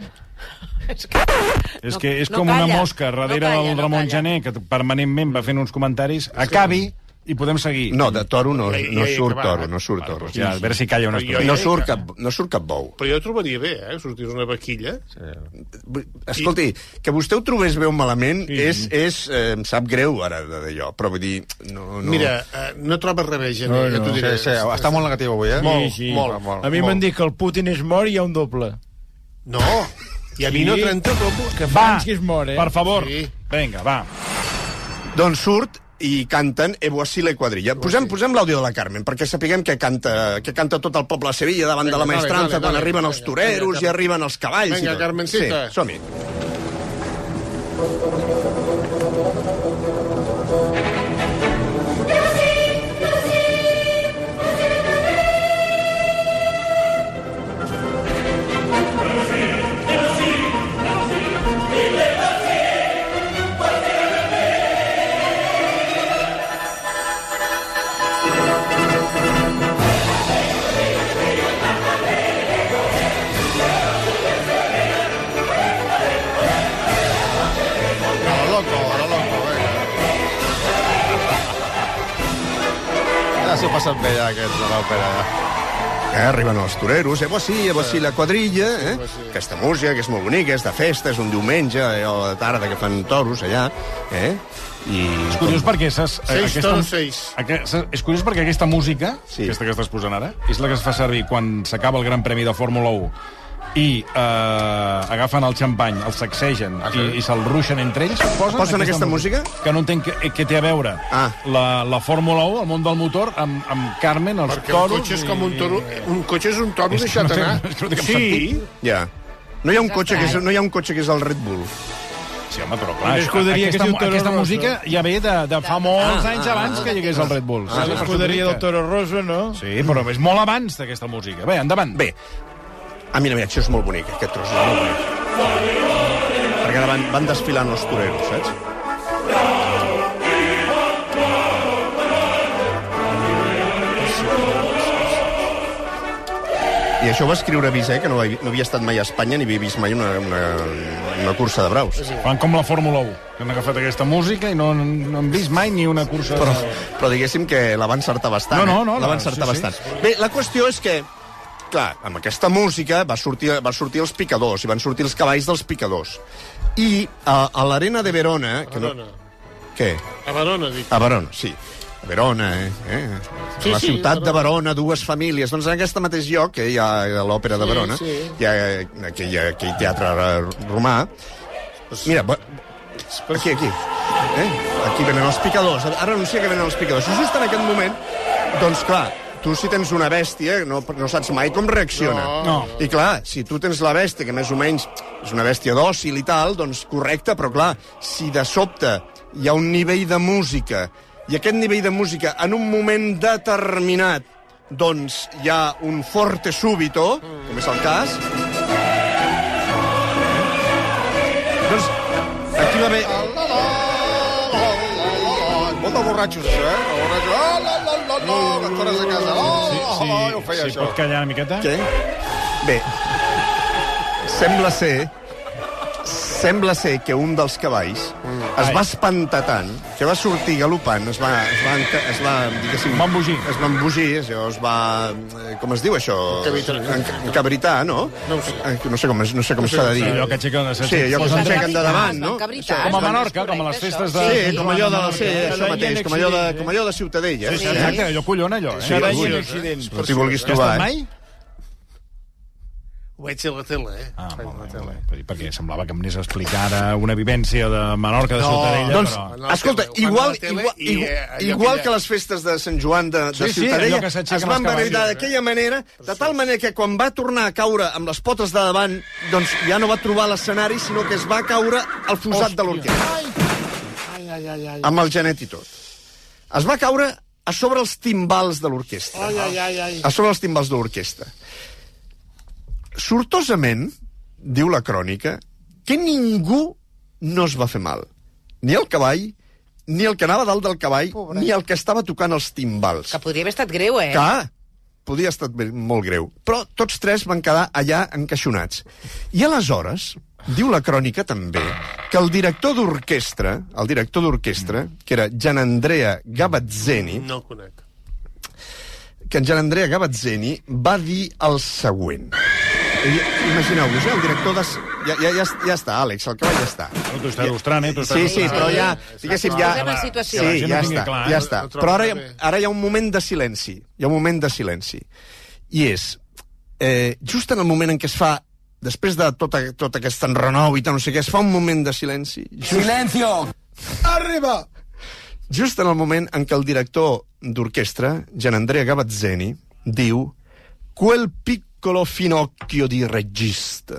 A: És que és
J: no
A: com
J: calla.
A: una mosca darrere
J: No calla,
A: del
J: no
A: Ramon
J: calla.
A: Gené, que permanentment va fent uns comentaris. Acabi i podem seguir.
B: No, de toro no,
J: Ei,
B: no
J: ei,
B: surt
J: que va.
B: toro, no surt toro.
A: ja, a veure si calla una
J: estona.
B: No surt cap, no surt cap bou.
J: Però jo trobaria bé, eh? Sortís una vaquilla. Sí.
B: Escolti, que vostè ho trobés bé o malament és, és, eh, em sap greu ara de- d'allò, però vull dir... No, no...
J: Mira, eh, no trobes res bé, Gené,
B: No,
J: no, no. ja t'ho
B: no.
J: diré.
B: Sí, sí, està molt negatiu avui, eh?
J: Sí, molt, sí. molt, molt.
D: a mi
J: molt.
D: m'han dit que el Putin és mort i hi ha un doble.
J: No, i a mi no 30 dobles.
D: Que Franski és mort, eh?
A: Per favor, sí. vinga, va.
B: Doncs surt i canten E voici la quadrilla. Posem, posem l'àudio de la Carmen, perquè sapiguem que canta, que canta tot el poble de Sevilla davant
J: Vinga,
B: de la
J: dale,
B: maestranza,
J: dale,
B: quan
J: dale,
B: arriben
J: vinga,
B: els toreros
J: vinga,
B: i arriben els cavalls.
J: Vinga,
B: i tot.
J: Carmencita.
B: Sí, som-hi.
C: Ja s'ho passen bé, ja, aquests, a l'òpera. Ja.
B: Eh, arriben els toreros, eh, sí, eh, sí, la quadrilla, eh? Aquesta música, que és molt bonica, és de festa, és un diumenge, eh, a la tarda que fan toros allà, eh? I...
A: És curiós perquè... Ses,
J: Seis toros, seis.
A: Aquesta, és curiós perquè aquesta música, sí. aquesta que estàs posant ara, és la que es fa servir quan s'acaba el Gran Premi de Fórmula 1 i eh, agafen el xampany, el sacsegen ah, sí. i, i se'l ruixen entre ells, posen,
B: Posen aquesta
A: Que no entenc què, què té a veure ah. la, la Fórmula 1, el món del motor, amb, amb Carmen, els
J: Perquè un
A: toros...
J: cotxe
A: [LAUGHS]
J: és com un toro... Un cotxe és un toro
A: És que
J: deixat
A: no té-
J: anar.
A: és que no té cap
J: Sí,
A: sentit.
B: Ja. No hi ha un cotxe que és, no hi ha un cotxe que és el Red Bull.
A: Sí, home, però
B: Una
A: clar, això,
B: escuderia que
A: aquesta,
B: es diu
A: aquesta,
B: Toro Rosso.
A: música ja ve de, de fa molts
D: Ah,
A: anys
D: ah,
A: abans
D: ah,
A: que hi hagués el Red Bull.
D: Ah,
A: Sí,
D: l'escuderia del Toro
A: Rosso, no? Sí, però és molt abans d'aquesta música. Bé, endavant.
B: Bé. Ah, mira, mira, això és molt bonic, aquest tros. És molt bonic. Perquè davant van desfilant els toreros, saps? I això ho va escriure Bizet, que no, havia- no havia estat mai a Espanya ni havia vist mai una, una, una cursa de braus.
A: Fan com la Fórmula 1, que han agafat aquesta música i no, no han vist mai ni una cursa...
B: Però, però diguéssim que la va encertar bastant.
A: No, no, no,
B: eh? La va
A: no,
B: encertar
A: sí, sí.
B: bastant. Bé, la qüestió és que, clar, amb aquesta música va sortir, va sortir els picadors, i van sortir els cavalls dels picadors. I a, a l'arena de Verona...
J: A Verona.
B: Què?
J: A Verona, dic.
B: A Verona, sí. A Verona, eh? eh?
J: Sí,
B: Sí, la
J: sí,
B: ciutat
J: Verona.
B: de Verona, dues famílies. Doncs en aquest mateix lloc, que hi ha a l'òpera de
J: Sí,
B: Verona,
J: sí.
B: hi ha aquell, aquell teatre romà... Mira, bo- aquí, aquí. Eh? Aquí venen els picadors. Ara anuncia que venen els picadors. I just en aquest moment, doncs clar, tu si tens una bèstia no, no saps mai com reacciona.
A: No.
B: I clar, si tu tens la bèstia, que més o menys és una bèstia dòcil i tal, doncs correcte, però clar, si de sobte hi ha un nivell de música, i aquest nivell de música en un moment determinat doncs hi ha un forte súbito, com és el cas, doncs aquí va haver...
C: Molt de borratxos, això, eh? El borratxo, oh, la, la, la, la, quan tornes a casa, oh, sí, sí, oh, oh, ho feia,
A: Si
C: això.
A: pot callar una miqueta?
B: Què? Bé, sembla ser... Sembla ser que un dels cavalls es va espantar tant que va sortir galopant, es va... Es va, enca- es va diguéssim... Va embogir. Es va embogir, això, es va... eh, Com es diu, això?
J: Encabritar.
B: Enca- Encabritar, no?
J: No ho sé.
B: Eh, No sé com, es- no sé com s'ha de dir.
A: Allò que aixequen...
B: Sí, allò que s'aixequen de
E: Ah,
B: davant, no?
I: Encabritar.
A: Com a Menorca, com a les festes de...
B: Sí, com allò de la
A: Menorca.
B: C, això mateix, com allò de, com allò de Ciutadella.
A: Sí, sí, exacte, allò collona, allò.
B: Sí, Cada any hi ha un accident. Però si vulguis
A: Has
B: trobar,
A: estat
B: eh?
A: mai?
J: Ho veig a la tele, eh?
A: Ah, molt bé, molt bé. Per- Perquè semblava que em anés a explicar ara una vivència de Menorca, de
J: No,
A: Ciutadella,
B: doncs,
A: però...
B: Escolta,
J: Quan a
B: igual,
J: la tele
B: igual,
J: i,
B: igual,
J: eh, allò
B: igual
J: que
B: que les festes de Sant Joan de, de
A: Sí, sí, allò
B: Ciutadella
A: que s'aixequen
B: es van
A: els cavalls,
B: veritar
A: eh?
B: d'aquella manera, de tal manera que quan va tornar a caure amb les potes de davant, doncs ja no va trobar l'escenari, sinó que es va caure al fosat de l'orquestra.
J: Ai, ai, ai, ai.
B: Amb el genet i tot. Es va caure a sobre els timbals de l'orquestra.
J: Ai, ai, ai, ai.
B: a sobre Ah, els timbals de l'orquestra. Sortosament, diu la crònica, que ningú no es va fer mal. Ni el cavall, ni el que anava dalt del cavall, Pobre. ni el que estava tocant els timbals.
E: Que podria haver estat greu, eh?
B: Clar, podia estar molt greu. Però tots tres van quedar allà encaixonats. I aleshores, diu la crònica també, que el director d'orquestra, el director d'orquestra, que era Gian Andrea Gavazzeni,
J: No el conec.
B: que en Gian Andrea Gavazzeni va dir el següent. I- Imagineu-vos, eh, el director de... Ja, ja, ja, ja està, Àlex, el cavall ja està.
A: No, T'ho estàs il·lustrant, eh? T'ho estàs
B: Sí, sí,
A: il·lustrant.
B: però ja... Diguéssim, ja...
E: Posem en situació.
A: Que la
B: Sí,
A: gent
B: ja
A: ho tingui
B: està,
A: clar, eh?
B: ja està.
J: No trobo
B: Però ara, hi ha-
J: bé.
B: ara hi ha un moment de silenci. Hi ha un moment de silenci. I és... Eh, just en el moment en què es fa després de tot, a- tot aquest enrenou i tal, no sé què, es fa un moment de silenci. Silencio! Arriba! Just en el moment en què el director d'orquestra, Gian Andrea Gavazzeni, diu quel piccolo finocchio di regista.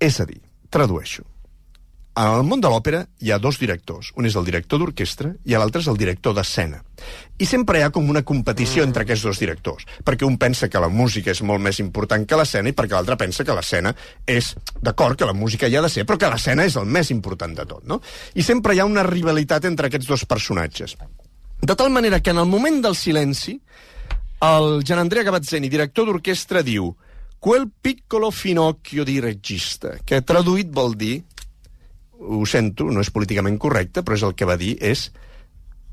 B: És a dir, tradueixo. En el món de l'òpera hi ha dos directors. Un és el director d'orquestra i l'altre és el director d'escena. I sempre hi ha com una competició entre aquests dos directors, perquè un pensa que la música és molt més important que l'escena i perquè l'altre pensa que l'escena és... D'acord, que la música hi ha de ser, però que l'escena és el més important de tot, no? I sempre hi ha una rivalitat entre aquests dos personatges. De tal manera que en el moment del silenci, el Gian Andrea Gavazzeni, director d'orquestra, diu «Quel piccolo finocchio di regista», que traduït vol dir ho sento, no és políticament correcte, però és el que va dir, és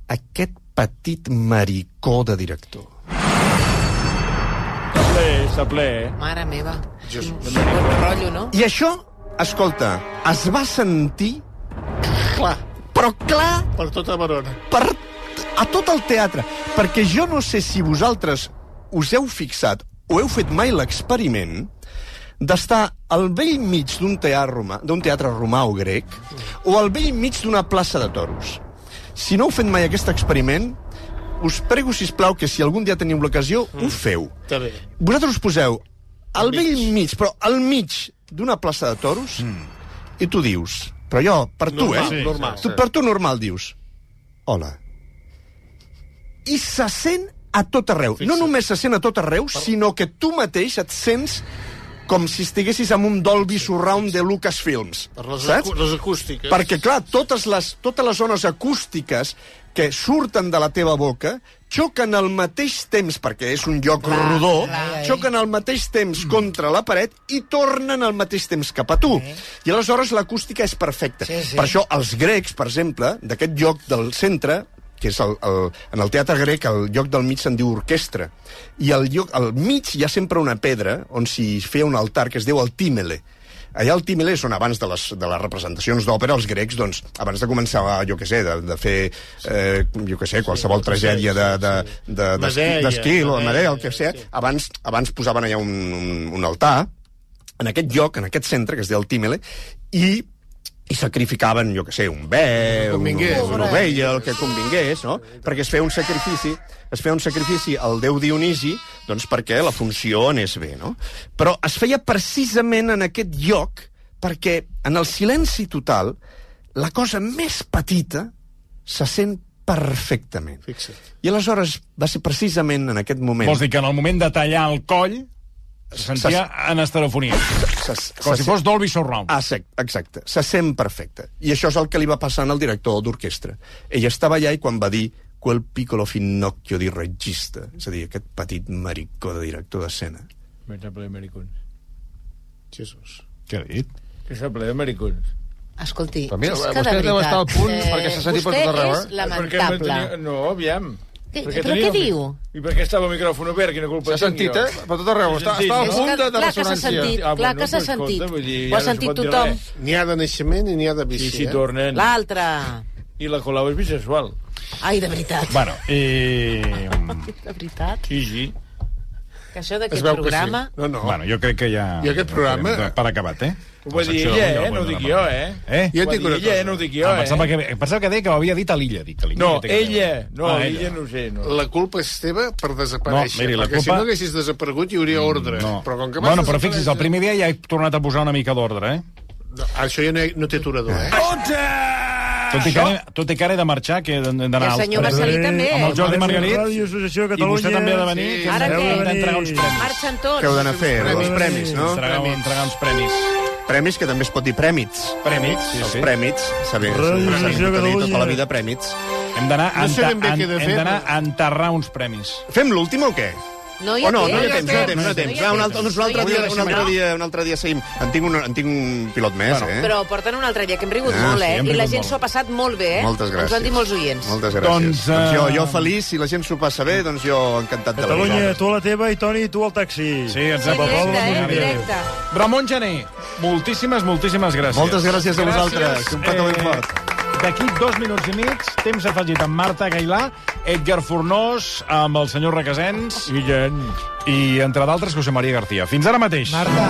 B: aquest petit maricó de director.
D: Està ple, està ple, eh?
E: Mare meva. Quin bon rotllo, no?
B: I això, escolta, es va sentir clar, però clar,
J: Per tota Verona.
B: per a tot el teatre, perquè jo no sé si vosaltres us heu fixat o heu fet mai l'experiment d'estar al vell mig d'un teatre, romà, d'un teatre romà o grec o al vell mig d'una plaça de toros. Si no heu fet mai aquest experiment, us prego, si plau que si algun dia teniu l'ocasió, ho feu.
J: Està bé.
B: Vosaltres us poseu al vell mig, però al mig d'una plaça de toros, i tu dius, però jo, per tu,
J: Mm. Normal,
B: eh?
J: sí, normal.
B: tu, per tu normal dius, hola. I se sent a tot arreu. No només se sent a tot arreu, sinó que tu mateix et sents com si estiguessis amb un Dolby Surround de Lucasfilms.
J: Per les,
B: saps?
J: acú- les acústiques.
B: Perquè, clar, totes les, totes les zones acústiques que surten de la teva boca xoquen al mateix temps, perquè és un lloc clar, rodó, clar, xoquen al mateix temps contra la paret i tornen al mateix temps cap a tu. I aleshores l'acústica és perfecta.
E: Sí, sí.
B: Per això els grecs, per exemple, d'aquest lloc del centre, que és el, el, en el teatre grec, el lloc del mig se'n diu orquestra. I al, lloc, al mig hi ha sempre una pedra on s'hi feia un altar que es diu el tímele. Allà al Tímele és on abans de les, de les representacions d'òpera els grecs, doncs, abans de començar, jo què sé, de, de fer, eh, jo què sé, qualsevol tragèdia de- de- de-
J: Medea,
B: d'esquí, de, de, o de
J: Medea,
B: Medea, el que
J: sí.
B: sé, abans, abans posaven allà un, un, un altar, en aquest lloc, en aquest centre, que es deia el Tímele, i i sacrificaven, jo que sé, un bé,
C: El que
B: un,
C: convingués.
B: una ovella, el que convingués, no? Perquè es feia un sacrifici, es feia un sacrifici al déu Dionisi, doncs perquè la funció anés bé, no? Però es feia precisament en aquest lloc perquè en el silenci total la cosa més petita se sent perfectament. Fixa't. I aleshores va ser precisament en aquest moment...
A: Vols dir que en el moment de tallar el coll se sentia en estereofonia. Com si fos Dolby Surround.
B: Ah, sí, exacte. Se sent perfecte. I això és el que li va passar al director d'orquestra. Ell estava allà i quan va dir quel piccolo finocchio di regista, és a dir, aquest petit maricó de director d'escena.
G: Vaig a ple de maricons.
C: Jesús.
A: Què ha dit?
G: Que s'ha ple de maricons.
E: Escolti,
G: Però mira,
E: és que
G: vostè
E: de veritat...
G: deu
E: eh,
G: estar al punt perquè s'ha sentit per
E: vostè
G: tot arreu, eh?
E: és
G: Perquè no,
E: lamentable.
G: tenia... no, aviam.
E: Què-
G: Perquè
E: però
G: tenia
E: què
G: el mic-
E: diu?
G: I per què estava el micròfon obert? Quina culpa
K: S'ha sentit, eh? Per tot arreu. Està-
G: S'ha sentit,
K: estava a
G: no?
K: punt de- de
E: clar que s'ha
K: ressonància.
E: sentit,
G: Ah,
E: clar
G: bueno,
E: que s'ha
G: doncs,
E: sentit.
G: escolta, vull dir,
E: Ho ha
G: ja no es
E: sentit
G: pot dir
E: tothom.
G: res.
C: N'hi ha de naixement i n'hi ha de
G: I
C: bici,
G: si
C: eh?
G: tornen.
E: L'altre.
G: I la Colau és bisexual.
E: Ai, de veritat.
A: Bueno, i...
E: [LAUGHS] De veritat.
G: Sí, sí.
E: Que això
C: Es
E: d'aquest
C: veu que
E: programa...
C: sí. No, no.
A: Oh. Bueno, jo crec que ja...
C: I aquest programa-
A: Per acabat, eh?
G: Ho va
A: La
G: dir
A: secció
G: ella,
A: d'avui ja
G: eh? No ho
A: podem
G: dic
A: acabar.
G: jo,
A: Eh?
G: eh? Ho va dir ella, eh? No ho dic jo,
A: ah, pensava,
G: eh?
A: que, pensava que deia que ho havia dit a l'illa. Dic, a l'illa
G: No,
A: que té que
G: ella.
A: veure. Ah,
G: No, ella no ho sé, no.
C: La culpa és teva per desaparèixer.
A: No, miri, la
C: perquè si
A: culpa-
C: no haguessis desaparegut hi hauria ordre.
A: No.
C: Però com que vas
A: bueno, però
C: desaparèixer-
A: fixi's, el primer dia ja he tornat a posar una mica d'ordre, eh?
C: No, això ja no, hi- no té aturador, eh?
A: Tot i, que ara, tot i que ara he de marxar, que he d'anar...
L: I el senyor Marcelí també.
A: Amb el Jordi Margarit.
G: Ràdio Associació de
A: I vostè
G: Catalunya.
A: també ha de venir, que
C: Sí.
A: ens
L: Ara
A: heu
L: què?
A: d'entregar uns premis.
L: Marxen tots.
B: Què heu d'anar a fer?
C: premis.
B: Uns premis, no?
A: Ens entregau- entregar uns premis.
B: Premis, que també es pot dir prèmits.
A: Premis, sí,
B: Els
A: sí.
B: prèmits, saber,
G: Ràdio
B: s'han
G: Televisió
B: sentit a dir tota
G: Catalunya.
B: la vida prèmits.
A: Hem d'anar a,
C: No sé
A: enta-
C: ben bé
A: en-
C: què he de
A: hem
C: fer,
A: d'anar
C: però-
A: a enterrar uns premis.
B: Fem l'últim o què?
E: No hi
B: O
E: ha
B: Oh, no,
E: temps.
B: no hi ha temps, no hi ha
E: temps,
B: temps, no hi ha temps. Va, un altre, doncs un
E: No
B: altre
E: hi ha
B: dia,
E: temps.
B: un altre dia, un altre dia seguim. En tinc un, en tinc un pilot més, eh?
L: Però porten un altre dia, que hem rigut
B: Ah,
L: molt,
A: sí,
L: eh?
A: hem
L: I la
A: rigut
L: gent
A: molt.
L: s'ho ha passat molt bé, eh?
B: Moltes gràcies.
L: Ens ho han dit molts oients.
B: Moltes gràcies.
A: Doncs,
B: Doncs,
A: eh,
B: doncs jo, jo feliç, si la gent s'ho passa bé, doncs jo encantat de la vida.
G: Catalunya, tu a la teva i Toni, tu al taxi.
A: Sí, ens
L: Sí, directe, eh?
A: apropa.
L: Directe.
A: Ramon Gené, moltíssimes, moltíssimes gràcies. Eh,
B: Moltes gràcies a vosaltres. Un petó ben fort.
A: D'aquí dos minuts i mig, temps afegit amb Marta Gailà, Edgar Fornós, amb el senyor Requesens
G: I gent.
A: i, entre d'altres, José María García. Fins ara mateix. Marta.